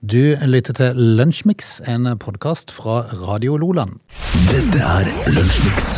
Du lytter til Lunsjmix, en podkast fra Radio Loland. Dette er Lunsjmix.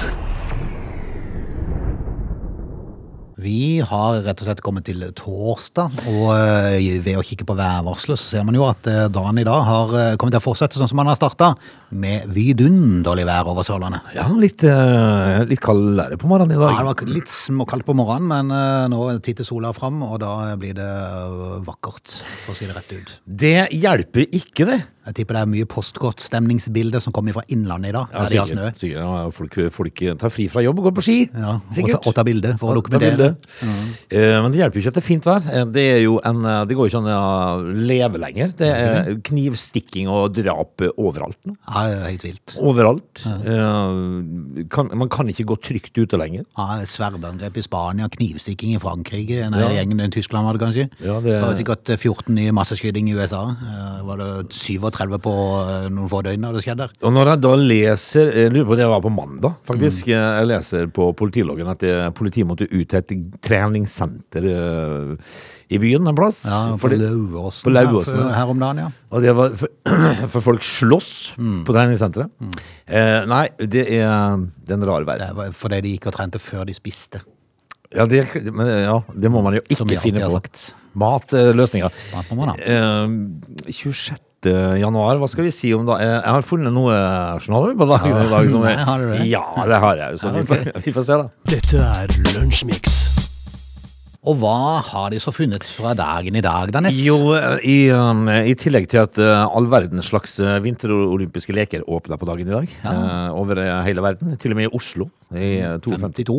Vi har rett og slett kommet til torsdag, og eh, ved å kikke på værvarselet så ser man jo at eh, dagen i dag har eh, kommet til å fortsette sånn som man har starta, med vidunderlig vær over Sørlandet. Ja, litt, eh, litt kaldere på morgenen i Ja, det dag. var litt småkaldt på morgenen, men eh, nå titter sola fram, og da blir det eh, vakkert, for å si det rett ut. Det hjelper ikke, det. Jeg tipper det er mye postkortstemningsbilder som kommer fra Innlandet i dag, der de har snø. sikkert, sikkert. Ja, Folk, folk tar fri fra jobb og går på ski. Ja, og ta, sikkert. og ta bilde for å Ja, dokumentere. da vil Mm. det. Eh, Men det hjelper jo ikke at det er fint vær. Eh, Det, er jo en, eh, det går jo ikke an å leve lenger. Det er knivstikking og drap overalt nå. Ja, det er helt vilt. Overalt. Eh, Kan, man kan ikke gå trygt ute lenger. Ja, Sverdangrep i Spania, knivstikking i Frankrike, nei, Ja. gjengen i Tyskland var det kanskje. Ja, det- det... var sikkert 14 nye masseskyting i USA. Eh, Var det 37 på eh, noen få døgn da det skjedde? der? Og når jeg da leser Jeg lurer på det var på mandag, Mm. faktisk. eh, Jeg leser på politiloggen at det, politiet måtte ut til et treningssenter eh, i byen en plass. Ja, på Fordi- Lauåsen. på Lauåsen, her, ja. her om dagen, ja. og det var for, for folk slåss Mm. på treningssenteret. Eh, nei, det er, det er en rar Det verden. var fordi de gikk og trente før de spiste. Ja, det, men, eh, ja, det må man jo Som vi ikke alltid finne har på. sagt. Matløsninger. Mat må man ha. Eh, 26. januar, hva skal vi si om da? Eh, Jeg har funnet noe journaler på dagen i dag. som Nei, er- har du det? Ja, det har jeg. Så Ja, vi, får, vi får se, da. Dette er Lunsjmix. Og hva har de så funnet fra dagen i dag, Danes? Jo, eh, i, um, i tillegg til at eh, all verdens slags eh, vinterolympiske leker åpner på dagen i dag, eh, over eh, hele verden, til og med i Oslo i eh, Mm. 52. 52.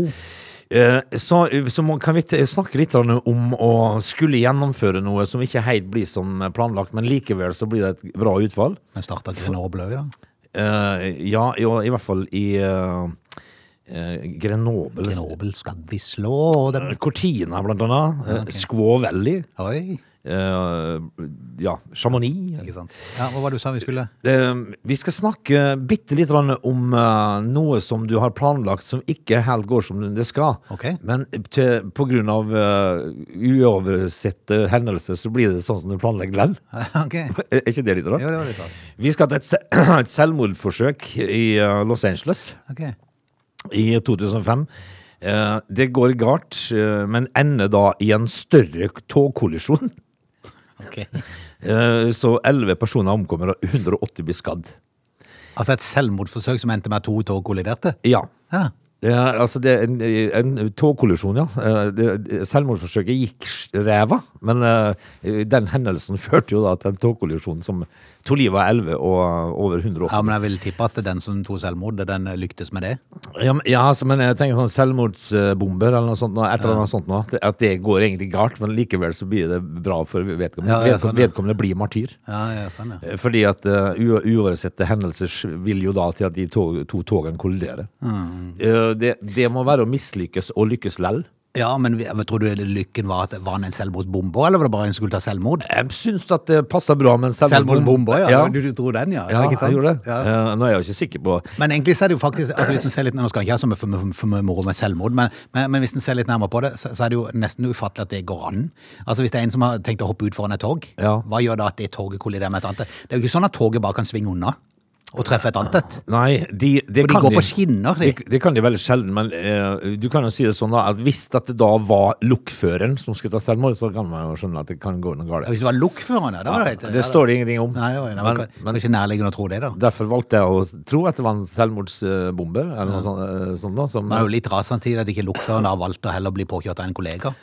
Eh, Så, så må, kan vi t- snakke litt grann om å skulle gjennomføre noe som ikke helt blir som planlagt, men likevel så blir det et bra utfall. Men starta Grenoble òg, da? Eh, Ja, jo, i hvert fall i eh, eh, Grenoble. Grenoble skal vi slå dem. Cortina, blant annet. eh, Squaw Valley. Oi, eh, Ja, Chamonix. ikke sant. Ja, hva var det du sa vi skulle? Eh, Vi skal snakke bitte litt om eh, noe som du har planlagt som ikke helt går som det skal. Ok. Men til, på grunn av eh, uoversette hendelser så blir det sånn som du planlegger lell. ok. Jo, eh, Er ikke det litt rart? det var litt rart. Vi skal til et, se- et selvmordforsøk i eh, Los Angeles Ok. i 2005. Eh, Det går galt, eh, men ender da i en større togkollisjon. Ok. Eh, Så 11 personer omkommer og 180 blir skadd. Altså et selvmordforsøk som endte med at to tog kolliderte? Ja. Ja. Ja, altså det er en, en togkollisjon, ja. Eh, det- Selvmordsforsøket gikk ræva, men eh, den hendelsen førte jo da til en togkollisjon som to liv av 11 og eh, over 100 år. ja, men jeg vil tippe at den som tok selvmord, den lyktes med det. Ja, men, ja altså, men jeg tenker sånn selvmordsbomber eller noe sånt, nå, et eller annet sånt nå, at- at det går egentlig galt, men likevel så blir det bra for vedkommende. Ja, ja, Vedkom- sånn, ja. vedkommende blir martyr. Ja, ja, sånn, ja. Eh, Fordi at eh, u- uoversette hendelser sk- vil jo da til at de to, to togene kolliderer. Eh, det, det må være å mislykkes og lykkes lell. Ja, men vi- men tror du lykken var at var han en selvmordsbombe, eller var det bare en som skulle ta selvmord? Jeg syns at det passer bra med en selvmordsbom- Selvmordsbombe, ja. Ja, Du, du tror den, ja. ja Ikke sant? jeg gjorde det. Ja. Eh, nå er jeg jo ikke sikker på Men egentlig så er det jo faktisk, altså hvis en ser litt, nå skal en ikke ha så mye for, mye- for mye moro med selvmord, men, men, men hvis en ser litt nærmere på det, så, så er det jo nesten ufattelig at det går an. Altså hvis det er en som har tenkt å hoppe ut foran et tog, Ja. hva gjør da at det toget kolliderer med et annet? Det er jo ikke sånn at toget bare kan svinge unna og treffe et annet. et. Nei, de, det For de kan går på skinner, de. Det, det kan de veldig sjelden, men eh, du kan jo si det sånn da, at hvis at det da var lokføreren som skulle ta selvmord, så kan man jo skjønne at det kan gå noe Ja, galt. Hvis det var lokførende, da var det helt... Det står det ingenting om. Nei, det var, det var, men, det var ikke nærliggende å tro det da. derfor valgte jeg å tro at det var en selvmordsbomber, eller noe sånt, eh, sånt da, som Man er jo litt rasende tid at ikke lokførende har valgt å heller bli påkjørt av en kollega.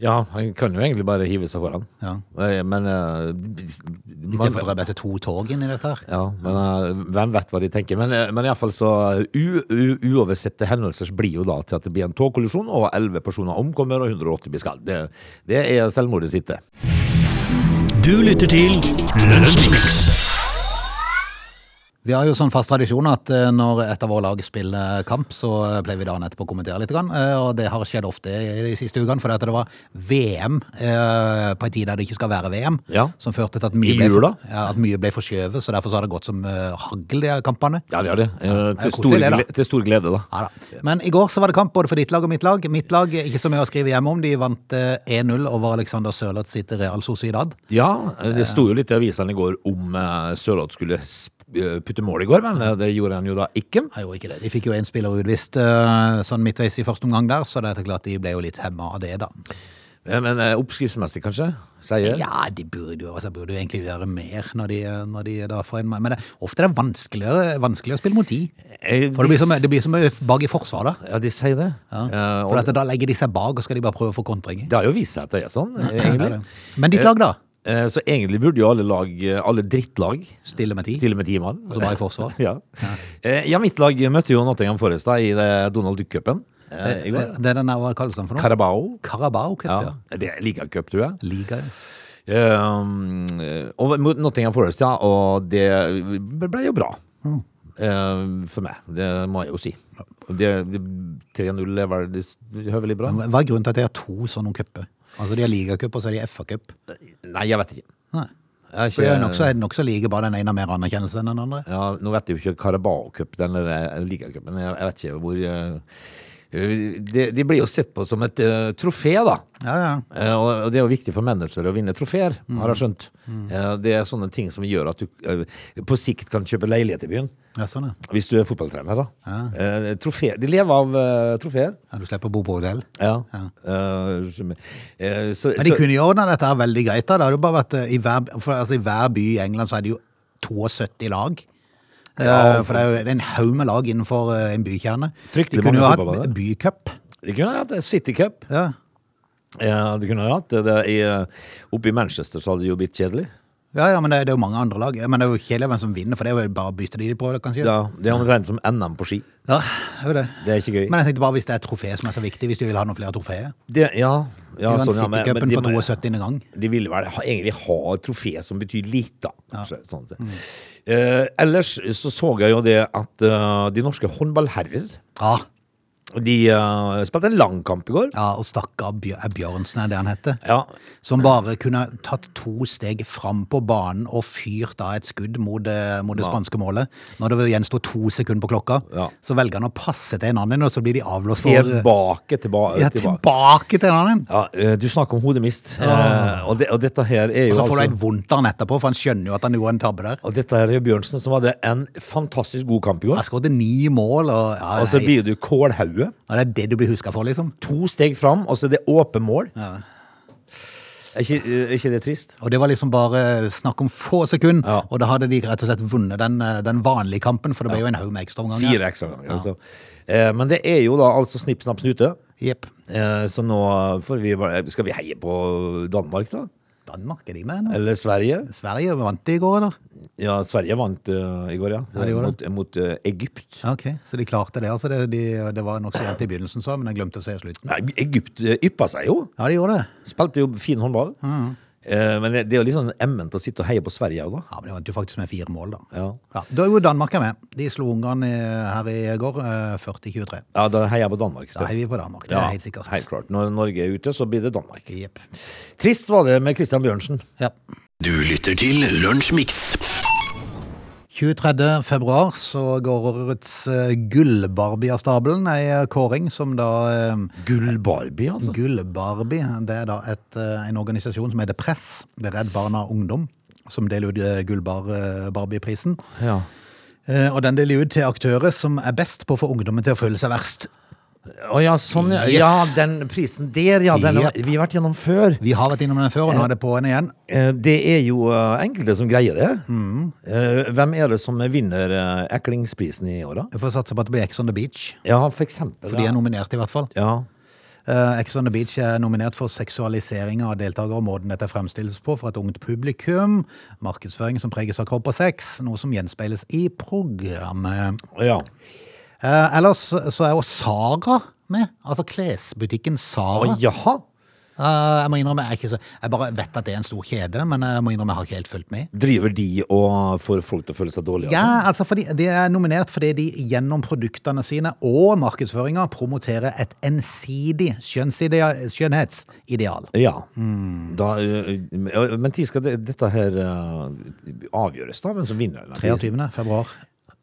Ja, han kan jo egentlig bare hive seg foran. Ja. Eh, Men eh, I stedet for å drømme seg to tog inn i dette her. Ja, men eh, hvem vet hva de tenker. Men, uh, men iallfall så u, u, Uoversette hendelser blir jo da til at det blir en togkollisjon, og elleve personer omkommer og 180 blir skadd. Det, det er selvmordet sitt, det. Du lytter til Lunsjmix. Vi har jo sånn fast tradisjon at eh, når et av våre lag spiller kamp, så eh, pleier vi dagen etterpå å kommentere litt. Grann, eh, og det har skjedd ofte i de siste ukene, fordi at det var VM eh, på en tid der det ikke skal være VM, Ja. som førte til at I mye, ble jula? ja, at mye ble forskjøvet, så derfor så har det gått som eh, hagl, de her kampene. Ja, det er det. Eh, det er Til stor, koselig, det, da. gle- til stor glede, da. Ja da. Men i går så var det kamp både for ditt lag og mitt lag. Mitt lag, ikke så mye å skrive hjemme om, de vant eh, 1-0 over Alexander Sørloth sitt Real Sociedad. Ja, eh, det sto jo litt i avisene i går om eh, Sørloth skulle sp- eh, putte mål i går, men eh, det gjorde han jo da ikke. Jeg gjorde ikke det. De fikk jo én spiller utvist eh, sånn midtveis i første omgang der, så det er klart de ble jo litt hemma av det, da. Eh, Men eh, oppskriftsmessig, kanskje? Sier Ja, de burde jo, altså, burde jo egentlig gjøre mer når de, når de da får en mann. Men det, ofte er det vanskeligere, vanskeligere å spille mot de. Eh, For det blir så mye- de, det blir så mye bak i forsvar, da. s- Ja, de sier det. Eh, For og at da legger de seg bak, og skal de bare prøve å få kontringer. det har jo vist seg at det er sånn, eh, Det er egentlig. det. Men ditt lag, da? Eh, Så egentlig burde jo alle lag, eh, alle drittlag, Stille med ti. til og med ti mann Så bare i forsvar. Ja. Eh, ja, mitt lag møtte jo Nottingham Forest da, i eh, Donald Duck-cupen. Det, Eh, i det, går. det er den der, hva kalles den for noe? Carabao. Carabao Cup, eh, ja. Ja, det er ligacup, tror jeg. Liga, ja. Um, og mot Nottingham Forest, ja, og det ble jo bra. Mm. Eh, for meg, det må jeg jo si. Det- det- 3-0 er vel det- høvelig bra? Men Hva er grunnen til at de har to sånne cuper? Altså de har ligacup, og så er de FA-cup. Nei, jeg vet ikke. Nei. Jeg er For det er ikke nokså nok like, bare den ene har mer anerkjennelse enn den andre. ja, nå vet jeg jo ikke Carabao Cup, den der eh, ligacupen. Jeg, jeg vet ikke hvor eh, de, de blir jo sett på som et eh, trofé, da. Ja, ja. Eh, og, og det er jo viktig for managere å vinne trofeer, har jeg skjønt. Eh, det er sånne ting som gjør at du eh, på sikt kan kjøpe leilighet i byen. ja sånn, ja. Hvis du er fotballtrener, da. Eh, trofé. De lever av eh, trofeer. ja. Du slipper å bo på hotell. Ja. Eh, som- eh, så, Men de så, kunne jo ordna dette her veldig greit. da. Det hadde jo bare vært, eh, i, hver, for, altså, I hver by i England så er det jo 72 lag. Eh, for det er jo det er en haug med lag innenfor eh, en bykjerne. Fryktelig de kunne mange jo fotballbaner. hatt bycup. de kunne hatt eh, City Cup. Ja. Eh, de kunne hatt det, det i, eh, Oppe i Manchester så hadde det jo blitt kjedelig. Ja, ja, men det, det er jo mange andre lag. Men det er jo kjedelig hvem som vinner, for det er jo bare å bytte de de prøver, kanskje. Ja, det er omtrent som NM på ski. Ja, det er jo det. Det er ikke gøy. Men jeg tenkte bare hvis det er et trofé som er så viktig, hvis du vil ha noen flere trofeer. Det, ja, ja, Ja, sånn, ja, men- men Citycupen de for må- 72. gang. De ville vel ha, egentlig ha et trofé som betyr litt, da. Så- Sånn. sett. Mm. Eh, ellers så så jeg jo det at eh, de norske håndballherrer Ja, De eh, spilte en lang kamp i går. Ah, ja og stakkar Bjør, er Bjørnsen, er det han heter. Ja, Som bare kunne tatt to steg fram på banen og fyrt av et skudd mot, det- mot det spanske målet. Når det gjenstår to sekunder på klokka, Ja. så velger han å passe til en annen, og så blir de avblåst for Tilbake, tilbake, Ja, tilbake. tilbake til en annen! Ja, eh, du snakker om hodemist, eh, og, det, og dette her Og er jo så får du altså et vondt av han etterpå, for han skjønner jo at han gjorde en tabbe der. og dette her er jo Bjørnsen, som hadde en fantastisk god kamp i går. Han skåret ni mål, og ja, Og så nei, blir du kålhauge. ja, det er det du blir huska for, liksom. To steg fram, og så er det åpent mål. Er ikke, er ikke det trist? Og det var liksom bare snakk om få sekunder, Ja. og da hadde de rett og slett vunnet den, eh, den vanlige kampen, for det ble jo en haug med ekstraomganger. Fire ekstra ganger. altså. Eh, Men det er jo da altså snipp, snapp, snute. Jepp. Eh, Så nå får vi bare eh, Skal vi heie på Danmark, da? Danmark er de med nå. Eller Sverige? Sverige vant de i går, eller? Ja, Sverige vant eh, i går, ja. Ja, de gjorde mot, mot eh, Egypt. Ja, Ok, så de klarte det. Altså, det, de, det var nokså jevnt i begynnelsen, så, men jeg glemte å se slutten. Nei, Egypt eh, yppa seg jo. Ja, de gjorde det. Spilte jo fin håndball. Eh, Men det, det er jo litt sånn emment å sitte og heie på Sverige òg, da. Ja, men de vant jo faktisk med fire mål, da. Ja. Ja, da er jo Danmark er med. De slo Ungarn i, her i går, eh, 40-23. ja, da heier jeg på Danmark. i Da stedet. heier vi på Danmark, det Ja, er helt sikkert. Helt klart. Når Norge er ute, så blir det Danmark. Jepp. Trist var det med Christian Bjørnsen. Ja. Du lytter til Lunsjmix. 23. februar så går årets eh, gullbarbie av stabelen, ei kåring som da eh, Gull-Barbie, altså. Gullbarbie, det er da et, eh, en organisasjon som heter Press, det er Redd Barna Ungdom, som deler ut eh, Gullbarbie-prisen. Ja. Eh, Og den deler ut til aktører som er best på å få ungdommen til å føle seg verst. Å ja, sånn ja. Yes. Ja, den prisen der, ja. Den har Jep. vi vært gjennom før. Vi har vært innom den før, og nå er det på henne igjen. Eh, Det er jo eh, enkelte som greier det. Eh, Hvem er det som vinner eh, Eklingsprisen i år, da? Jeg får satse på at det blir Ex on the Beach, Ja, for eksempel. for de er nominert i hvert fall. ja. Eh, Ex on the Beach er nominert for seksualisering av deltakere og måten dette fremstilles på for et ungt publikum, markedsføring som preges av kropp og sex, noe som gjenspeiles i programmet. ja. Eh, Ellers så er jo Sara med, altså klesbutikken Å, Sara. jaha. Eh, Jeg må innrømme, jeg, er ikke så, jeg bare vet at det er en stor kjede, men eh, jeg må innrømme jeg har ikke helt fulgt med. Driver de og får folk til å føle seg dårlige? Ja, altså fordi De er nominert fordi de gjennom produktene sine og markedsføringa promoterer et ensidig skjønnsidea- skjønnhetsideal. Ja. Da, eh, eh, men tid skal det, dette her eh, avgjøres, da? Hvem som vinner? eller? 23. februar.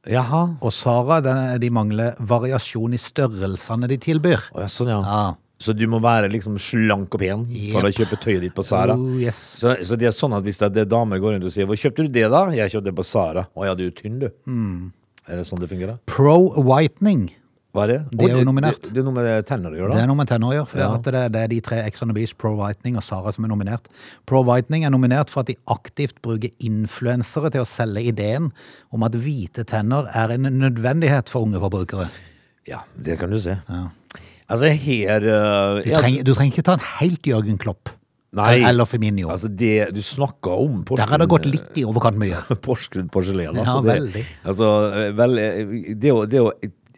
Jaha. Og Sara, den- de mangler variasjon i størrelsene de tilbyr. Å, ja, sånn, ja. Ja. Så du må være liksom slank og pen for å kjøpe tøyet ditt på Sara? Oh, yes. Så, så det er sånn at hvis det er damer går rundt og sier 'Hvor kjøpte du det, da?' 'Jeg kjøpte det på Sara.' 'Å ja, du er tynn, du'. Hmm. Er det sånn det fungerer? Pro whitening. Hva er det? Det er Å, jo nominert. Det, det er noe med tenner å gjøre, Det er da. noe med tenner å gjøre. For det, Ja. er at det, det er de tre Ex on the Beach, Pro Whitening og Sara som er nominert. Pro Whitening er nominert for at de aktivt bruker influensere til å selge ideen om at hvite tenner er en nødvendighet for unge forbrukere. Ja, det kan du se. Altså, her eh, Du ja, trenger, du trenger ikke ta en helt Jørgen Klopp Nei. eller Feminio. Altså, det du snakka om Der har det gått litt i overkant mye. Porsgrunn porselen. Ja, Altså, veldig. det, altså, eh, vel, eh, det er jo, det er jo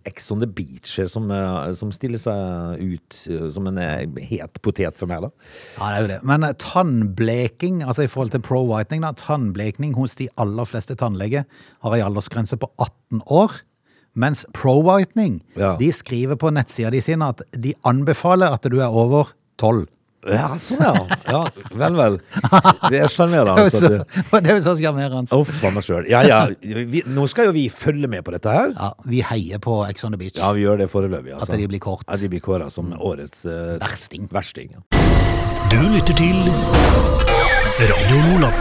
Ex on the Beach eh, som, eh, som stiller seg ut eh, som en eh, het potet for meg, da. Ja, det er jo det. Men eh, tannbleking, altså i forhold til pro whitening, da, tannbleking hos de aller fleste tannleger har ei aldersgrense på 18 år. Mens pro whitening, Ja. de skriver på nettsida de sine at de anbefaler at du er over 12. Ja, sånn ja. ja. Vel, vel. Det er sjarmerende. Det er jo Altså. så- det er jo så sjarmerende. Uff a meg sjøl. Ja, ja. Vi, nå skal jo vi følge med på dette her. Ja, vi heier på Ex on the Beach. Ja, vi gjør det foreløpig. Altså. At de blir kåret. At de blir kåret som årets eh, Versting. versting, ja. Du lytter til Radio Lola.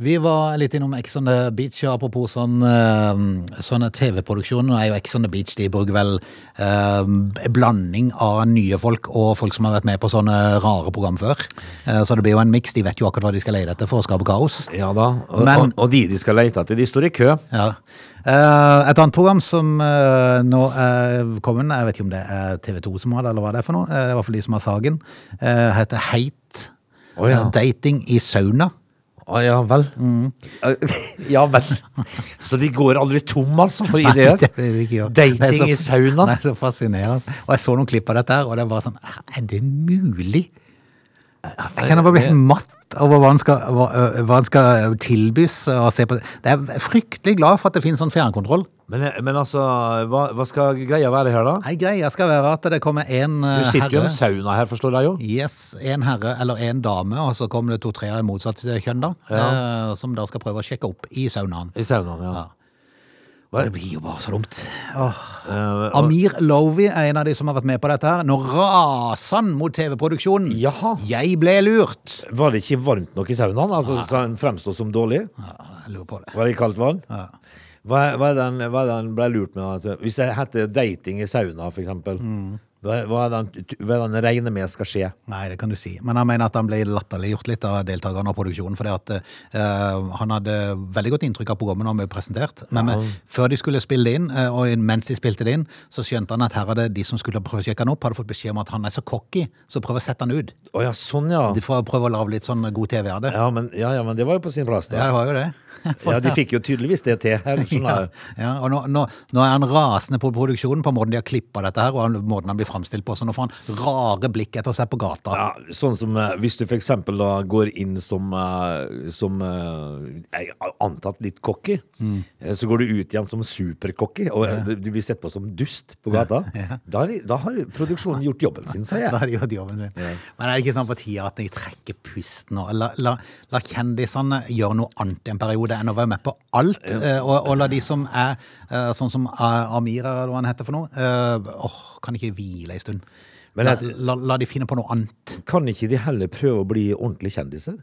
Vi var litt innom Ex on the Beach, ja, apropos sånn, eh, sånn TV-produksjon. Nå er jo Ex on the Beach, de bruker vel eh, en blanding av nye folk og folk som har vært med på sånne rare program før. Eh, så det blir jo en miks, de vet jo akkurat hva de skal leie etter for å skape kaos. Ja da. Og, Men- og, og de de skal lete etter, de står i kø. Ja. Eh, et annet program som eh, nå er kommet, jeg vet ikke om det er TV 2 som har det, eller hva det er for noe, eh, det er i hvert fall de som har saken, eh, heter Heit. Å ja. Eh, Dating i sauna. Å Ah, ja vel. Mm. ja vel. Så de går aldri tom, altså, for Nei, ideer? det vil vi ikke gjøre. Det er Dating så- i sauna? Det er så fascinerende. altså. Og jeg så noen klipp av dette her, og det er bare sånn Er det mulig? Jeg kjenner bare bli helt matt over hva en skal, hva, øh, hva en skal tilbys å se på. Det er fryktelig glad for at det finnes sånn fjernkontroll. Men, men altså, hva, hva skal greia være her, da? Ei greie skal være at det kommer en Du øh, sitter jo i en herre sauna her, forstår jeg jo. Yes, en herre eller en dame, og så kommer det to-tre av motsatt kjønn, da. øh, Som da skal prøve å sjekke opp i saunaen. I saunaen, ja. Og Det blir jo bare så dumt. Eh, og- Amir Lovi er en av de som har vært med på dette her. Nå raser han mot TV-produksjonen. Jaha. Jeg ble lurt. Var det ikke varmt nok i saunaen? Altså, så han fremstod som dårlig? Ja, jeg lurer på det. Var det kaldt vann? Hva, hva er den, hva er den ble lurt med? da? Hvis det heter dating i sauna, for eksempel. Mm. Hva, hva, er den, hva er den regner med skal skje? Nei, det kan du si. Men han mener at han ble latterliggjort litt av deltakerne og produksjonen. For at eh, han hadde veldig godt inntrykk av programmet når han ble presentert. Men eh, før de skulle spille det inn, eh, og inn- mens de spilte det inn, så skjønte han at her hadde de som skulle prøve å sjekke han opp, hadde fått beskjed om at han er så cocky, så prøv å sette han ut. Å ja, sånn ja. De får prøve å lage litt sånn god TV av det. Ja men, ja, ja, men det var jo på sin plass, Ja, da. det var jo det. Ja, De fikk jo tydeligvis det til her. Ja, Skjønner du. ja, og nå, nå, nå er han rasende på produksjonen, på måten de har klippa dette her, og han- måten han blir framstilt på. Så nå får han rare blikk etter seg på gata. Ja, sånn som eh, hvis du for eksempel da går inn som, eh, som eh, jeg har antatt litt cocky, Mm. eh, så går du ut igjen som supercocky, og eh, du- du blir sett på som dust på gata. Da, har, da har produksjonen gjort jobben sin, sier Da jeg. har de gjort jobben sin. Men er det ikke sånn på tida at de trekker pusten og la, la, la kjendisene gjøre noe annet i en periode enn å være med på alt? eh, Og, og la de som er eh, sånn som eh, Amira, eller hva han heter for noe, eh, åh, kan ikke hvile en stund. Men la, jeg- la, la de finne på noe annet. Kan ikke de heller prøve å bli ordentlige kjendiser?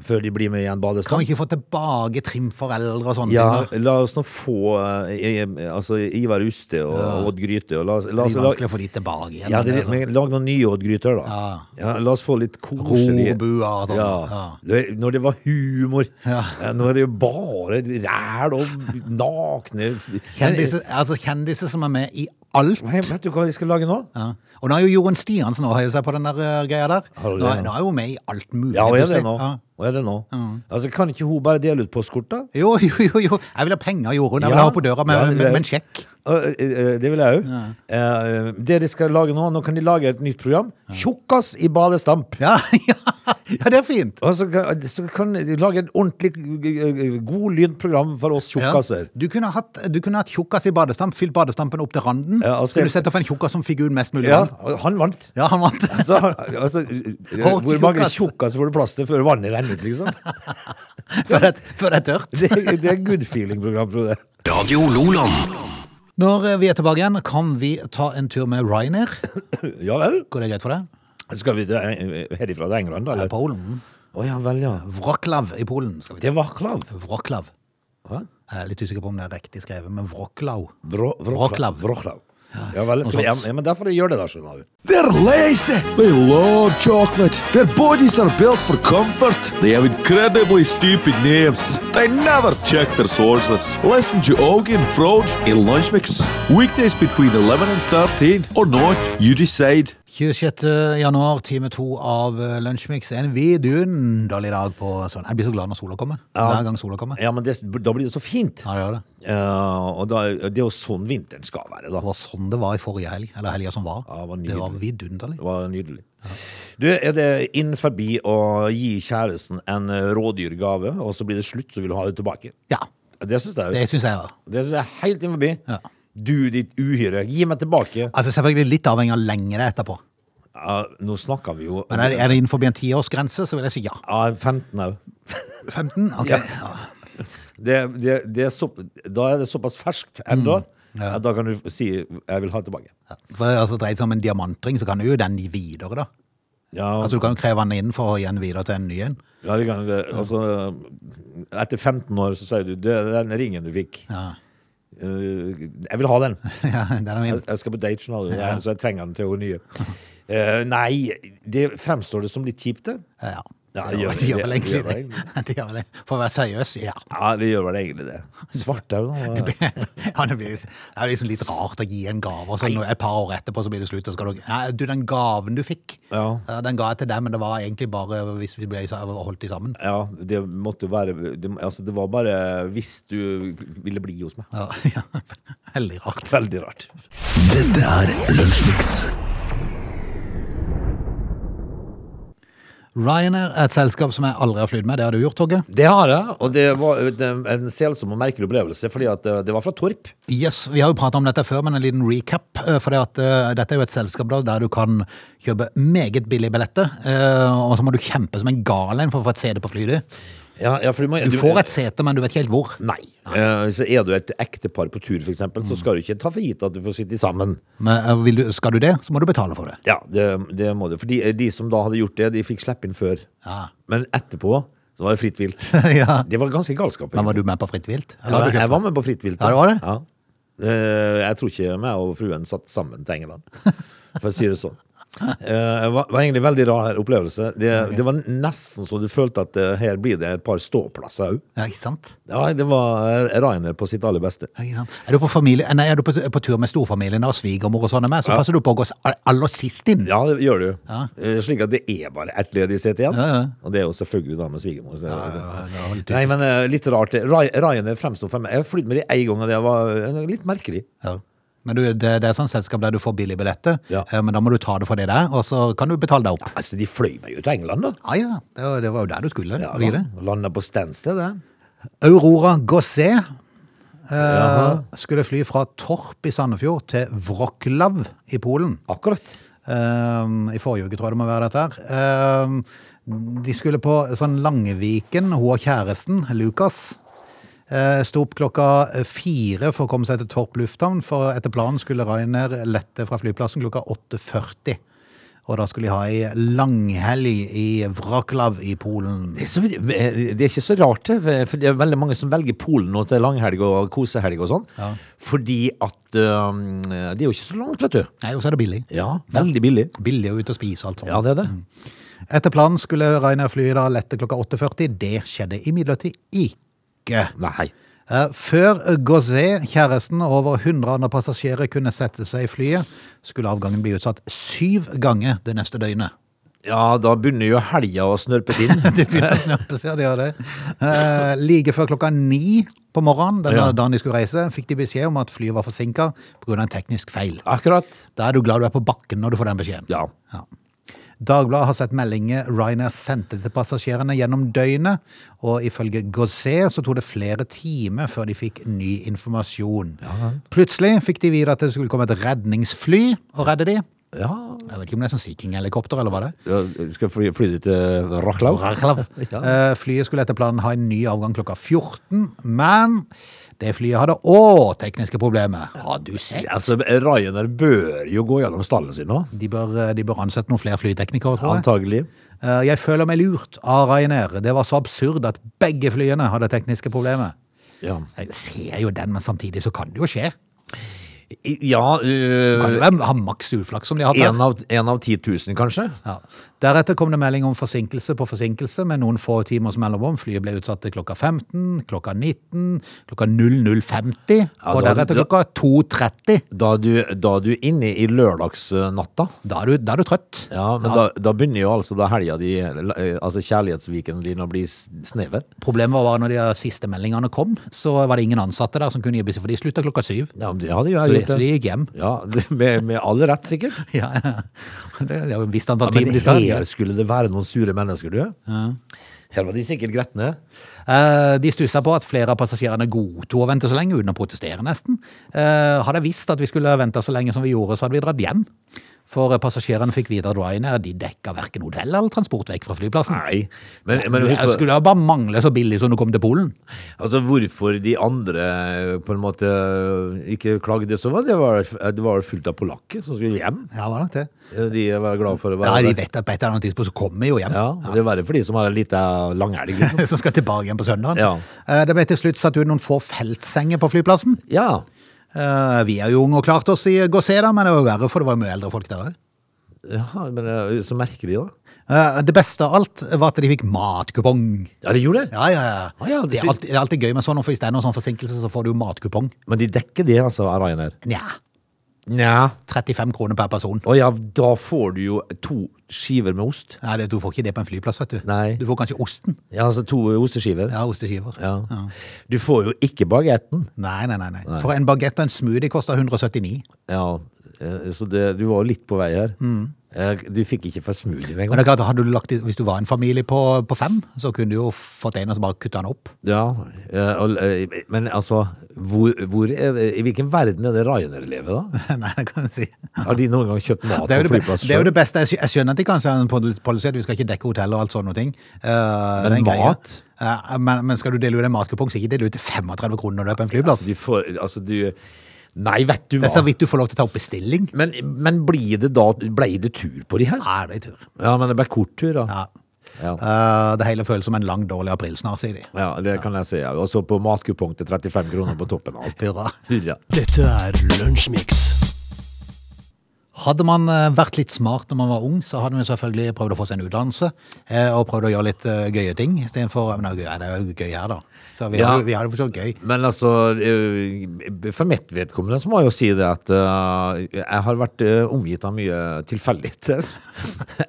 Før de blir med i en Kan badestrand? vi ikke få tilbake trimforeldre og sånne Ja, ting? la oss nå få eh, eh, altså, Ivar Uste og Odd Gryte og la oss, la Det oss blir la, vanskelig å få de tilbake igjen. Altså, sånn. ja, det, men er- men Lag noen nye Odd Gryter, da. Ja. la oss få litt koselige Rorbuer og sånn, Ja. ja. Det- Når det var humor. Ja. Eh, Nå er det jo bare ræl og nakne Kjendiser, altså kjendiser som er med i alt. Hei, Vet du hva de skal lage nå? Ja. Og nå er jo Jorunn Stiansen også høyet seg på den der eh, greia der. Har du Nå, det? er- nå er jo med i alt mulig. Ja, og er det plutselig. nå? Ja. Og er det nå? Altså, kan ikke hun bare dele ut postkort, da? Jo, jo, jo, jo. Jeg vil ha penger, Jorunn. Jeg vil Ja. ha henne på døra med, Ja, det vil med, jeg. med en sjekk. Eh, eh, Det vil jeg òg. Det de skal lage nå, nå kan de lage et nytt program. Tjukkas i badestamp. Ja, ja, ja, det er fint. Og så kan, så kan de lage et ordentlig eh, god lydprogram for oss Ja. tjukkaser. Du kunne hatt, du kunne hatt tjukkas i badestamp, fylt badestampen opp til randen. Ja, og se- Skulle du sett opp en tjukkas som fikk ut mest mulig Ja, vann? han vant. Ja, han vant. Så, altså, eh, Hård hvor mange tjukkas. tjukkaser får du plass til før vannet renner ut, liksom? Før det, før det er tørt. Det, det er good feeling-program, Frode. Radio Loland. Når eh, vi er tilbake igjen, kan vi ta en tur med Ryanair. Ja vel? Går det greit for deg? Skal vi til, eh, herifra til England, da? Ja, Eller? Polen. Å ja vel, ja. Wroclaw i Polen skal vi til. Det var klav. Wroclaw. Hæ? Jeg er litt usikker på om det er riktig skrevet, men Wroclaw. Vro- Wroclaw. Wroclaw. Ja vel. Skal vi, ja, men derfor gjør det, da, skjønner du. They're lazy. They love chocolate. Their bodies are built for comfort. They have incredibly stupid names. They never check their sources. Listen to Augie and Frode in Lunch Mix. Weekdays between 11 and 13 or not, you decide. 26. januar, time to av eh, Lunsjmix. En vidunderlig dag på sånn. Jeg blir så glad når sola kommer. Hver gang sola kommer. Ja, men det, da blir det så fint. Ja, det gjør det. Eh, og da, det er jo sånn vinteren skal være, Det da. var sånn det var i forrige helg, eller helga som var. Ja, det var nydelig. det var vidunderlig. Det var nydelig. Du, er det inn forbi å gi kjæresten en eh, rådyrgave, og så blir det slutt, så vil du ha det tilbake? Ja, Det syns jeg det jo. syns jeg var. Det syns jeg er helt inn forbi. Ja. Du, ditt uhyre, gi meg tilbake. Altså Selvfølgelig litt avhengig av lenge det er etterpå. Ja, nå snakker vi jo Men er det, er det innenfor en tiårsgrense, så vil jeg si ja. Ja, 15 òg. 15? Ok. Ja. Det, det, det er så, da er det såpass ferskt Mm, ennå. at Da kan du si 'jeg vil ha det tilbake'. For det er altså dreid seg om en diamantring, så kan du jo den gi videre, da. Ja, Altså Du kan jo kreve den inn for å gi den videre til en ny en. ja, vi kan, det, altså, etter 15 år så sier du det, 'den ringen du fikk', Ja. eh, jeg vil ha den. ja, den er Jeg, min. jeg skal på date, skjønner du, så jeg trenger den til å gå nye. Eh, nei, det fremstår det som litt kjipt, det. Ja. Ja, det gjør- gjør, det gjør vel det- egentlig gjør det. det gjør vel det. For å være seriøs, ja. Ja, det gjør vel egentlig det. Svartau, da. ja det, blir, det er liksom litt rart å gi en gave, og så når- et par år etterpå så blir det slutt. Og så skal du, ja, du, den gaven du fikk, Ja. den ga jeg til deg, men det var egentlig bare hvis vi ble sa- holdt i sammen. Ja, det måtte jo være det, altså, det var bare hvis du ville bli hos meg. Ja, ja. Veldig rart. Veldig rart. Dette er Lunsjmix. Ryanair er et selskap som jeg aldri har flydd med. Det har du gjort, Torge. Det har jeg, og det var en, en selsom og merkelig opplevelse, fordi at eh, det var fra Torp. Yes, Vi har jo prata om dette før, men en liten recap. eh, For det at, eh, dette er jo et selskap da, der du kan kjøpe meget billige billetter, eh, og så må du kjempe som en gal en for å få et sete på flyet. Ja, ja, for du, må, Du får et sete, men du vet ikke helt hvor. Nei. Eh, så er du et ektepar på tur, for eksempel, Mm. så skal du ikke ta for gitt at du får sitte sammen. Men eh, vil du, skal du det, så må du betale for det. Ja, det, det må du. For de, de som da hadde gjort det, de fikk slippe inn før. Ja. Men etterpå så var det fritt vilt. ja. Det var ganske galskap. Men var du med på Fritt vilt? Eller jeg, hadde var- du kjøpt jeg var med på fritt vilt. da. Ja, det var det. Ja. Eh, Jeg tror ikke meg og fruen satt sammen til England, for å si det sånn. Eh, Det var var egentlig en veldig rar opplevelse. Det, det var nesten så du følte at eh, her blir det et par ståplasser òg. det? Ja, ikke sant? Ja, det var eh, Rainer på sitt aller beste. Ja, ikke sant? Er du på, familie, nei, er du på, på tur med storfamilien og svigermor og sånne med, så passer du på å gå s- aller sist inn. Ja, det gjør du. Ja. Eh, Slik at det er bare ett ledig sete igjen. Ja, ja. Og det er jo selvfølgelig da med svigermor. så- ja, det var litt Nei, men eh, litt rart. Ry- Ryanair fremsto for meg Jeg har flydd med de én gang, og det var eh, litt merkelig. Ja. Men du, det, det er sånn selskap der du får billige billetter, Ja. eh, men da må du ta det for det der, og så kan du betale deg opp. Ah, Altså, de fløy meg jo til England, da. Ja, ja, det var, det var jo der du skulle. var det ikke da. det? Landa på Stansted, det. Aurora Gosset eh, Jaha. skulle fly fra Torp i Sandefjord til Wroclaw i Polen. Akkurat. Ehm, I forrige uke tror jeg det må være dette her. Ehm, de skulle på sånn Langeviken, hun og kjæresten, Lukas. Uh, Sto opp klokka fire for å komme seg til Torp lufthavn, for etter planen skulle Rainer lette fra flyplassen klokka 8.40. Og da skulle de ha ei langhelg i Wroclaw i Polen. Det er, så, eh, det er ikke så rart, det, for- for det er veldig mange som velger Polen nå til langhelg og kosehelg og sånn. Ja. Fordi at um, Det er jo ikke så langt, vet du. Nei, og så er det billig. Ja, veldig billig. Mm. Billig å ut og spise og alt sånt. Ja, det er det. Etter planen skulle Rainer flyet da lette klokka 8.40. Det skjedde imidlertid ikke. Nei. Eh, Eh, Før Gauzet, kjæresten og over 100 andre passasjerer, kunne sette seg i flyet, skulle avgangen bli utsatt syv ganger det neste døgnet. Ja, da begynner jo helga å snørpes inn. Det begynner å snørpe seg, det gjør det. Eh, like før klokka ni på morgenen den Ja. dagen de skulle reise, fikk de beskjed om at flyet var forsinka pga. en teknisk feil. Akkurat. Da er du glad du er på bakken når du får den beskjeden. Ja. Ja. Dagbladet har sett meldinger Ryanair sendte til passasjerene gjennom døgnet, og ifølge Gauzet så tok det flere timer før de fikk ny informasjon. Plutselig fikk de vite at det skulle komme et redningsfly og redde de. ja. Jeg vet ikke om det er sånn Sea King-helikopter, eller hva det er. ja skal fly, fly du til Raklau? Ja. Eh, Flyet skulle etter planen ha en ny avgang klokka 14, men det flyet hadde òg tekniske problemer. Har du sett? Altså, Ryanair bør jo gå gjennom stallen sin nå. De bør, eh, de bør ansette noen flere flyteknikere, tror jeg. Antagelig. Eh, Jeg føler meg lurt av Ryanair. Det var så absurd at begge flyene hadde tekniske problemer. Ja, Jeg ser jo den, men samtidig så kan det jo skje. ja øh, Kan det være, ha maks uflaks som de har hatt en, der. av, en av 10 000, kanskje? Ja. Deretter kom det melding om forsinkelse på forsinkelse med noen få timers mellomrom. Flyet ble utsatt til klokka 15, klokka 19, klokka 00.50 Ja, og da- deretter da- klokka 2.30. Da du, da du er inne i lørdagsnatta. Da er du, da er du trøtt. Ja, men Da, da begynner jo altså da helga di, eller, eh, altså kjærlighetsviken din, å bli s- snever. Problemet var bare når de siste meldingene kom, så var det ingen ansatte der som kunne gi beskjed, for de slutta klokka syv. Ja, men det hadde jo Så de, jeg gjort. så de det. gikk hjem. Ja, det- med, med all rett, sikkert. Ja, ja. Det er jo et visst antall Ja, men timer de skal ha. her skulle det være noen sure mennesker, du. Her var de sikkert gretne. Eh, De stussa på at flere av passasjerene godtok å vente så lenge uten å protestere, nesten. Eh, Hadde jeg visst at vi skulle vente så lenge som vi gjorde, så hadde vi dratt hjem. For eh, passasjerene fikk videre at Ryanair de dekka verken hotell eller transport vekk fra flyplassen. Nei. Men, men Det husk på, skulle da bare mangle så billig som du kom til Polen. altså hvorfor de andre eh, på en måte eh, ikke klagde så var det var det var fullt av polakker som skulle hjem. Ja, var det det? De var glad for å Ja, være de vet at på et eller annet tidspunkt så kommer vi jo hjem. Ja, og det er verre for de som har en liten langhelg. Liksom. Som skal tilbake igjen på søndagen. Ja. Eh, Det ble til slutt satt ut noen få feltsenger på flyplassen. Ja. Eh, Vi er jo unge og klarte oss i Gåsé, da, men det var jo verre, for det var jo mye eldre folk der òg. ja, men eh, så merker de da. Eh, Det beste av alt var at de fikk matkupong. Ja, de gjorde det. Ja, ja, ja. Ah, ja, det det, er synes- alltid, det er alltid gøy med sånn, for hvis det er noen sånn forsinkelse, så får du jo matkupong. Men de dekker det, altså, av Ryanair. Nja, Nja. 35 kroner per person. Å ja, da får du jo to skiver med ost. Nei, det, du får ikke det på en flyplass, vet du. Nei. Du får kanskje osten. Ja, altså to osteskiver. Ja, osteskiver. Ja. Du får jo ikke bagetten. Nei, nei, nei, nei. For en bagett og en smoothie koster 179. Ja, eh, så det, du var jo litt på vei her. Mm. Eh, Du fikk ikke for smoothie Men engang. det er klart, hadde du lagt, i- hvis du var en familie på, på fem, så kunne du jo fått en og så bare kutta den opp. Ja, eh, og, eh, men altså, hvor, hvor er det, i hvilken verden er det Ryanair lever da? nei, det kan du si. Har de noen gang kjøpt mat Det er, jo på det, be- flyplass det er jo selv? det beste. Jeg skj- Jeg skjønner at de kanskje har en pol- policy at vi skal ikke dekke hotell og alt sånne ting. Eh, det er en greie. mat? Eh, men, men skal du dele ut en matkupong, så ikke dele ut til 35 kroner når du er på en flyplass. Altså, de får, altså, du... Nei, vet du Det er så hva? vidt du får lov til å ta opp bestilling. Men, men blir det da, ble det tur på de her? Nei, det er tur. Ja, men det ble kort tur da. Ja. Ja. Eh, det hele føles som en lang, dårlig april snart, sier de. Ja, det kan jeg si. ja. Og så på matkupong til 35 kroner på toppen av alt. Hurra. Hurra. Dette er Lunsjmix. Hadde man eh, vært litt smart når man var ung, så hadde man selvfølgelig prøvd å få seg en utdannelse, eh, og prøvd å gjøre litt eh, gøye ting, istedenfor Men det er jo gøy- det er jo gøy her, da. Så vi Ja. har det- vi har det for så vidt gøy. Men altså, eh, for mitt vedkommende så må jeg jo si det at eh, jeg har vært eh, omgitt av mye tilfeldigheter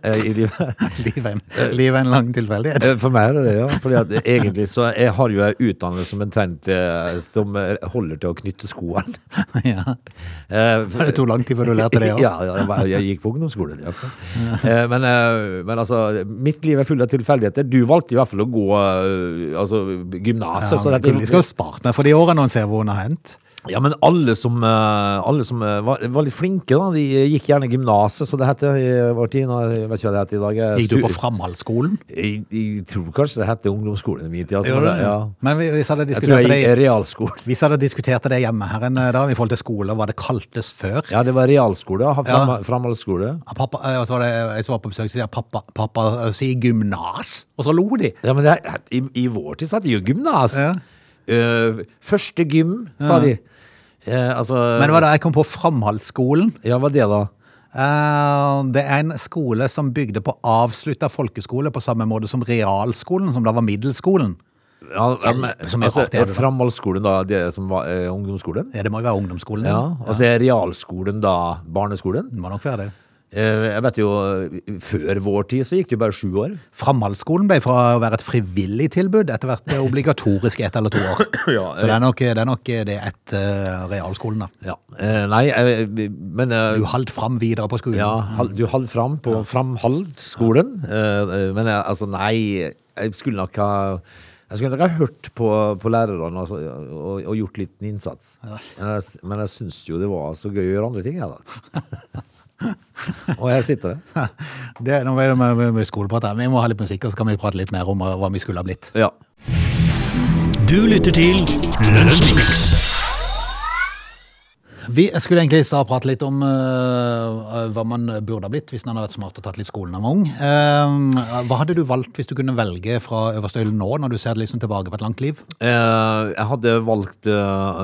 eh, i livet. Livet er en- livet er en lang tilfeldighet. Eh, For meg er det det, ja. Fordi at egentlig så jeg har jo en utdannelse som omtrent eh, som eh, holder til å knytte skoene. ja. Eh, for- Det tok lang tid før du lærte det òg. ja, ja, jeg var- jeg gikk på ungdomsskolen. i hvert fall. Eh, Men, eh, men altså, mitt liv er fullt av tilfeldigheter. Du valgte i hvert fall å gå eh, altså, gymnaset. så dette- de skal jo spart meg for de årene når en ser hvor hun har hendt. Ja, men alle som, eh, alle som eh, var, var litt flinke, da, de eh, gikk gjerne gymnaset, som det heter i vår tid. Nå, jeg vet ikke hva det heter i dag. eh, Gikk du stu- på Framhaldsskolen? jeg, jeg tror kanskje det heter ungdomsskolen i min tid. Altså, men det- ja. Men vi- hvis hadde Jeg tror diskutert jeg det, er realskolen. hvis hadde diskutert det hjemme her en eh, dag, i forhold til skole, hva det kaltes før Ja, det var realskole. ja, Fram, Framholdsskole. Ja, Pappa, eh, og så var det jeg som var på besøk, så sier jeg, pappa, pappa eh, sier gymnas, og så lo de. Ja, men det, er- i, i vår tid så hadde de jo gymnas. Ja. Eh, første gym, sa de. Eh, altså, Men det var da jeg kom på Framhaldsskolen. Ja, hva det da? Eh, Det er en skole som bygde på avslutta folkeskole på samme måte som realskolen, som da var middelskolen. ja, ja, men, Som jeg altså, alltid hadde, er da. framholdsskolen da det som var eh, ungdomsskolen? Ja, det må jo være ungdomsskolen. Ja, Ja. altså er realskolen da barneskolen? Det må nok være det. Eh, Jeg vet jo, eh, før vår tid så gikk det jo bare sju år. Framhaldsskolen ble fra å være et frivillig tilbud etter hvert eh, obligatorisk ett eller to år. Ja, Så det er nok det, er nok eh, det etter realskolen, da. Ja, eh, nei, eh, men eh, Du holdt fram videre på skolen. Ja, hal- du holdt fram på Framhald-skolen. eh, eh, Men jeg, altså, nei, jeg skulle nok ha jeg skulle nok ha hørt på, på lærerne altså, og, og gjort litt innsats. Men jeg, s- men jeg syns jo det var så gøy å gjøre andre ting. Jeg, da. og her sitter jeg. Det, nå ble det med, med, med skoleprat her. Vi må ha litt musikk, og så kan vi prate litt mer om eh, hva vi skulle ha blitt. Ja. Du lytter til Lunsjmix. Vi skulle egentlig i stad prate litt om øh, hva man burde ha blitt hvis man hadde vært smart og tatt litt skolen når man var ung. Ehm, hva hadde du valgt hvis du kunne velge fra øverste hylle nå, når du ser det liksom tilbake på et langt liv? Eh, jeg hadde valgt eh,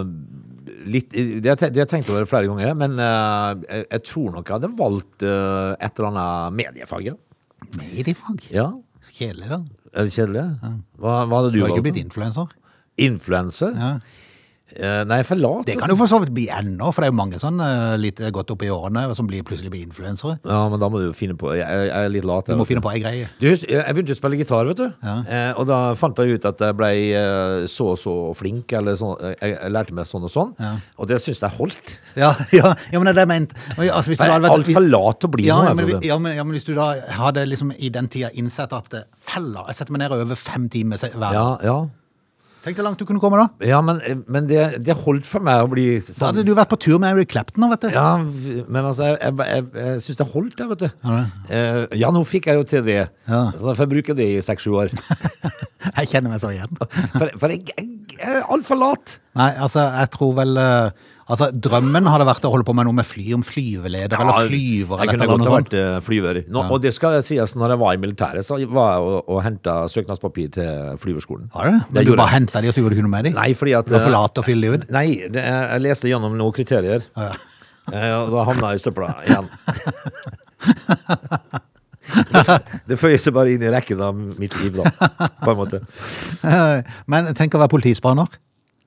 litt Det har jeg te- det har jeg tenkt over flere ganger, men eh, jeg, jeg tror nok jeg hadde valgt eh, et eller annet mediefag. ja. Mediefag? Ja. Så kjedelig, da. Er det kjedelig? Hva, hva hadde du Du har valgt? ikke blitt influenser? Influenser? Ja. Eh, nei, for lat. Det kan jo for så vidt bli ennå, for det er jo mange sånn øh, litt godt opp i årene som blir, plutselig blir influensere. Ja, men da må du jo finne på Jeg, jeg er litt lat. Du jeg, må vet finne på ei greie. Du, husk, jeg begynte å spille gitar, vet du. Eh, og da fant jeg ut at jeg ble eh, så og så flink, eller sånn. Jeg, jeg lærte meg sånn og sånn. Og det syns jeg holdt. Ja, ja, ja men det er det jeg mente. Altså, hvis du Jeg hadde er vært- altfor lat til å bli Ja, noe. jeg, men, Frode. vi- ja, men, ja, men hvis du da hadde liksom i den tida innsett at eh, fella, jeg setter meg ned og øver fem timer se- hver dag. ja, ja. Tenk hvor langt du kunne komme da. ja, men, eh, men det, det holdt for meg å bli Da sånn. hadde du vært på tur med Eric Clapton nå, vet du. Ja, v- men altså, jeg, jeg, jeg, jeg syns det holdt, jeg, vet du. Eh, ja, nå fikk jeg jo til det. Ja. Så da får jeg bruke det i seks-sju år. Jeg kjenner meg så igjen. For, for jeg, jeg, jeg er altfor lat. Nei, altså, jeg tror vel eh, Altså, drømmen hadde vært å holde på med noe med fly, om flyveleder eller flyver Jeg eller et kunne eller godt annet ha sånt. vært eh, flyver. Nå, Og det skal sies, når jeg var i militæret, så var jeg og, og henta søknadspapir til flyverskolen. Var det? Men du gjorde bare jeg. henta de, og så gjorde du ikke noe med de? Nei, fordi at Du var eh, for lat til å fylle de ut? Nei, det, jeg jeg leste gjennom noen kriterier. Eh, Og da havna jeg i søpla igjen. Det f- Det føyer seg bare inn i rekken av mitt liv, da. På en måte. Eh, Men tenk å være politispaner.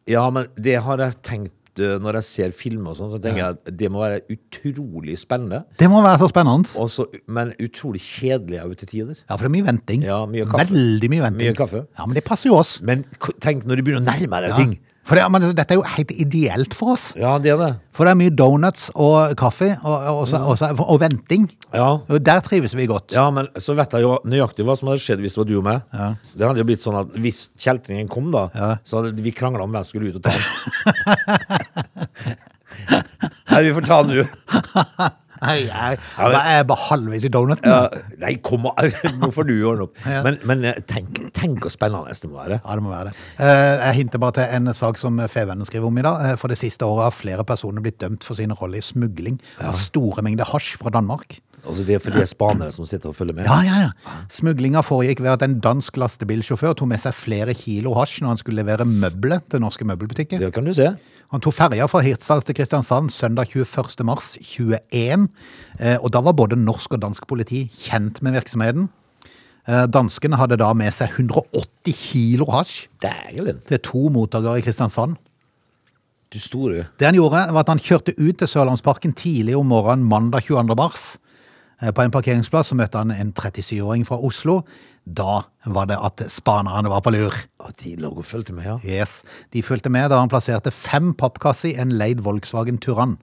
Ja, men det har jeg tenkt eh, når jeg ser filmer og sånn, så tenker jeg at det må være utrolig spennende, Det må være så spennende. og så- men utrolig kjedelig òg til tider. Ja, for det er mye venting. Ja, mye kaffe. Veldig mye venting. Mye kaffe. Ja, men det passer jo oss. Men k- tenk når du begynner å nærme deg Ja. ting. For det, men dette er jo helt ideelt for oss. Ja, det er det. For det er mye donuts og kaffe og, og, og, og, og venting. Ja. Og der trives vi godt. ja, men så vet jeg jo nøyaktig hva som hadde skjedd hvis det var du og meg. Det hadde jo blitt sånn at hvis kjeltringen kom, da, så hadde vi krangla om hvem som skulle ut og ta den. Nei, vi får ta den, du. Nei, jeg, Ja, men- jeg er bare halvveis i donuten. Ja, Ja. nei, kom an, nå får du ordne opp. Ja. Men, men eh, tenk, tenk hvor spennende det må være. det må være det. Eh, Jeg hinter bare til en sak som Fevennen skriver om i dag. Eh, For det siste året har flere personer blitt dømt for sin rolle i smugling av store mengder hasj fra Danmark. Altså, det er for de spanere som sitter og følger med. Ja, ja, ja. Smuglinga foregikk ved at en dansk lastebilsjåfør tok med seg flere kilo hasj når han skulle levere møbler til norske møbelbutikker. Det kan du se. Han tok ferja fra Hirtshals til Kristiansand søndag 21. mars 21. eh, Og da var både norsk og dansk politi kjent med virksomheten. Eh, Danskene hadde da med seg 180 kilo hasj Dægelen. til to mottakere i Kristiansand. Du store. Det han gjorde, var at han kjørte ut til Sørlandsparken tidlig om morgenen mandag 22. mars. Eh, På en parkeringsplass så møtte han en 37-åring fra Oslo. Da var det at spanerne var på lur. Å, de lå og fulgte med, ja. Yes. De fulgte med da han plasserte fem pappkasser i en leid Volkswagen Turan.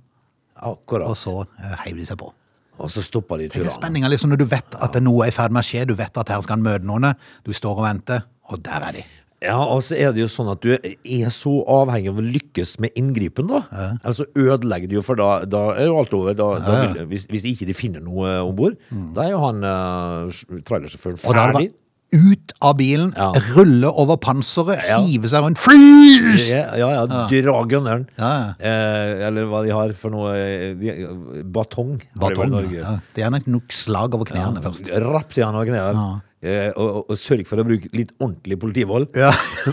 Akkurat. Og så eh, heiv de seg på. Og så stoppa de Det er turene. spenninga liksom når du vet at det noe er i ferd med å skje, du vet at her skal han møte noen, du står og venter, og der er de. Ja, og så er det jo sånn at du er så avhengig av å lykkes med inngripen, da. Ellers så ødelegger du jo, for da, da er jo alt over. Da, da vil, hvis, hvis ikke de finner noe eh, om bord, da er jo han eh, sj- trailersjåføren Mm. Og da er det ferdig. bare ut av bilen, Ja. rulle over panseret, Ja. hive seg rundt Fly! Ja, ja, ja, dra gunneren. Ja, Eh, eller hva de har for noe eh, de, Batong. har de vel i Batong. Norge. Ja. Det er nok nok slag over knærne først. Rapp til han over knærne. Eh, og, og, og sørg for å bruke litt ordentlig politivold Ja.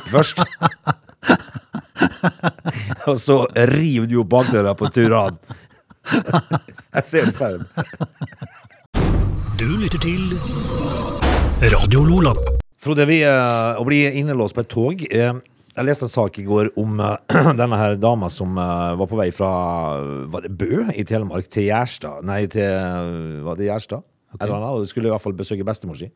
først. og så river du opp bakdøra på Turan. Jeg ser det for meg. Du lytter til Radio Lola. Frode, vi, eh, å bli innelåst på et tog eh, Jeg leste en sak i går om eh, denne her dama som eh, var på vei fra Var det Bø i Telemark til Gjerstad? Nei, til eh, Var det Gjerstad? Eller noe, og skulle i hvert fall besøke bestemor si.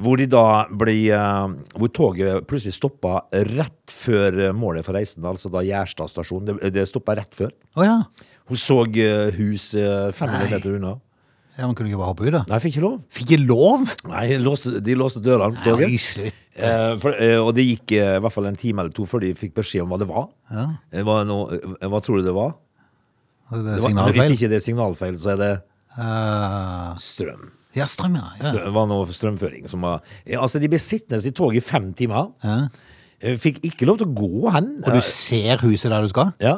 Hvor de da blir eh, Hvor toget plutselig stoppa rett før eh, målet for reisen, altså da Gjerstad stasjon. Det, det stoppa rett før. Å ja. Hun så eh, hus eh, 500 meter unna. ja. Man kunne ikke bare hoppe ut, da. Nei, fikk ikke lov. Fikk jeg lov? Nei, de låste, de låste dørene på toget. Nei, slutt. Eh, for, eh, og det gikk eh, i hvert fall en time eller to før de fikk beskjed om hva det var. Eh, Hva, nå- eh, hva tror du det var? Det Det er var Hvis signalfeil. ikke det er signalfeil, så er det Eh, strøm. ja, strøm, ja. ja. Det var noe strømføring som var eh, Altså, de ble sittende i toget i fem timer. Ja. Eh, Fikk ikke lov til å gå hen. Og du ser huset der du skal? Eh, ja.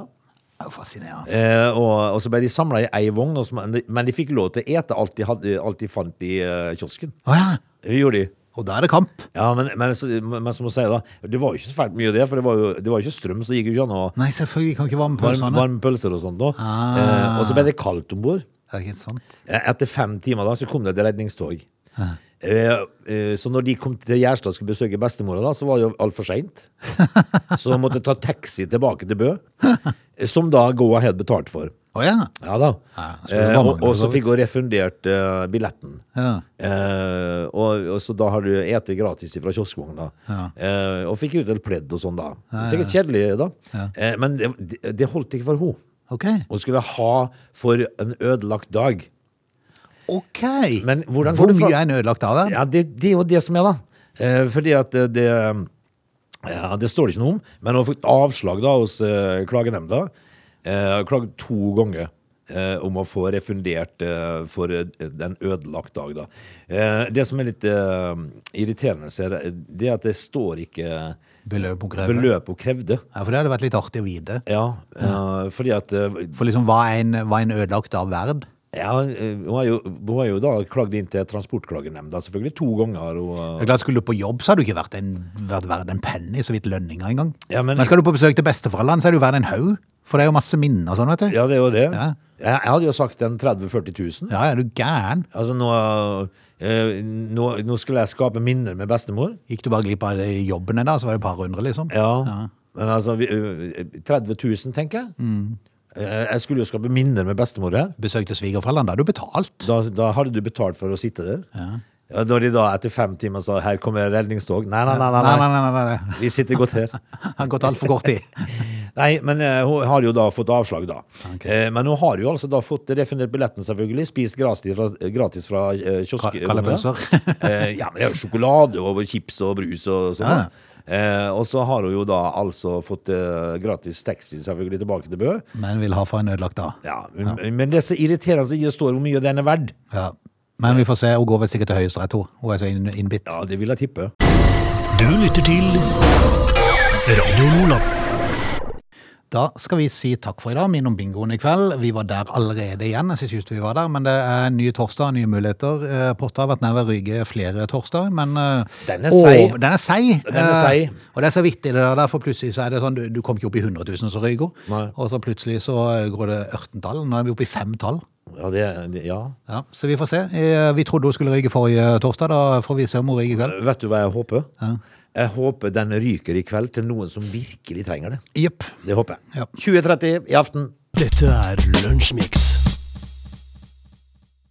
Det er jo fascinerende. Eh, og, og så ble de samla i ei vogn, og så- men de- men de fikk lov til å ete alt de, hadde, alt de fant i eh, kiosken. Å ja. Det gjorde de. Og da er det kamp. Ja, men, men, så- men som hun sier, da. Det var jo ikke så fælt mye, det. For det var jo, det var jo ikke strøm, så det gikk jo ikke an å Nei, selvfølgelig kan ikke varme Varm, pølsene. varme pølser og sånt. Da. Ah. Eh, og så ble det kaldt om bord. E-, Er det ikke sant? Etter fem timer da, så kom det et redningstog. Eh, eh, så når de kom til Gjerstad og skulle besøke bestemora, da, så var det jo altfor seint. Så de måtte ta taxi tilbake til Bø, som da Go-Ahead betalte for. Å ja. Ja da. Ja, det skulle Eh, bare og, mangle, og for så så vidt. fikk hun refundert eh, billetten. Ja. Eh, og, og så da har du ete gratis fra kioskvogna. Eh, og fikk ut et pledd og sånn da. Sikkert kjedelig, da. Eh, men det, det- det holdt ikke for henne. Ok. Hun skulle ha for en ødelagt dag. Ok. Men hvordan går Hvor det fra- mye er en ødelagt av det? Ja, det, det er jo det som er, da. Eh, fordi at eh, det ja, Det står det ikke noe om, men hun fikk avslag da hos eh, klagenemnda. Eh, klaget to ganger eh, om å få refundert eh, for eh, en ødelagt dag, da. Eh, det som er litt eh, irriterende, ser jeg, det er at det står ikke Beløp hun krever. beløp hun krevde. Ja, for det hadde vært litt artig å vite. Ja, eh, fordi at eh, For liksom, hva er en, hva er en ødelagt av verd? ja, eh, Hun har jo, hun har jo da klagd inn til Transportklagenemnda, selvfølgelig. To ganger. Og, eh, Det er klart, Skulle du på jobb, så hadde du ikke vært, en, vært verd en penny, så vidt lønninga engang. Ja, men- men... skal du på besøk til besteforeldrene, så er du verd en haug. For det er jo masse minner og sånn, vet du. Ja, det er jo det. Ja. Jeg, jeg hadde jo sagt en 30 000-40 000. Ja, er du gæren? Altså, nå, eh, nå, nå skulle jeg skape minner med bestemor. Gikk du bare glipp av det i jobben en dag, så var det et par hundre, liksom? Ja. Men altså, vi, eh, 30 000, tenker jeg. Mm. Eh, Jeg skulle jo skape minner med bestemor her. Besøk til svigerforeldrene, da har du betalt. Da, da hadde du betalt for å sitte der. Ja. Ja, når de da etter fem timer sa 'her kommer redningstog'. Nei, nei, nei. nei, Nei, nei. nei, nei, nei, nei. Vi sitter godt her. Det har gått altfor kort tid. Nei, men eh, hun har jo da fått avslag, da. Eh, men hun har jo altså da fått refundert billetten, selvfølgelig. Spist gratis fra, gratis fra eh, kiosk. Ka- kalde pølser. eh, ja, men det er jo sjokolade og chips og brus og sånn. Ja, ja. Eh, og så har hun jo da altså fått eh, gratis taxi selvfølgelig tilbake til Bø. Men vil ha for en ødelagt av. Ja, men, men det som irriterer seg i det står hvor mye den er verd. Ja. Men vi får se, hun går vel sikkert til høyesterett, hun. Hun er så inn- innbitt. Ja, det vil jeg tippe. Du lytter til Radio Lola. Da skal vi si takk for i dag. Minn om bingoen i kveld. Vi var der allerede igjen. Jeg synes just vi var der, men det er ny torsdag, nye muligheter. Eh, Potta har vært nær ved Ryge flere torsdager, men eh, Den er seig. over- Den er seig. Den er seig. Eh, Og det er så vittig det der, der, for plutselig så er det sånn, du, du kom ikke opp i 100 000 som Rygo, Nei. og så plutselig så eh, går det ørtentall. Nå er vi oppe i femtall. Ja, det, det- ja. Ja, så vi får se. Eh, Vi trodde hun skulle ryge forrige torsdag, da får vi se om hun ryger i kveld. Vet du hva jeg håper? Jeg håper den ryker i kveld til noen som virkelig trenger det. Jepp. Det håper jeg. Ja. 20.30 i aften. Dette er Lunsjmix.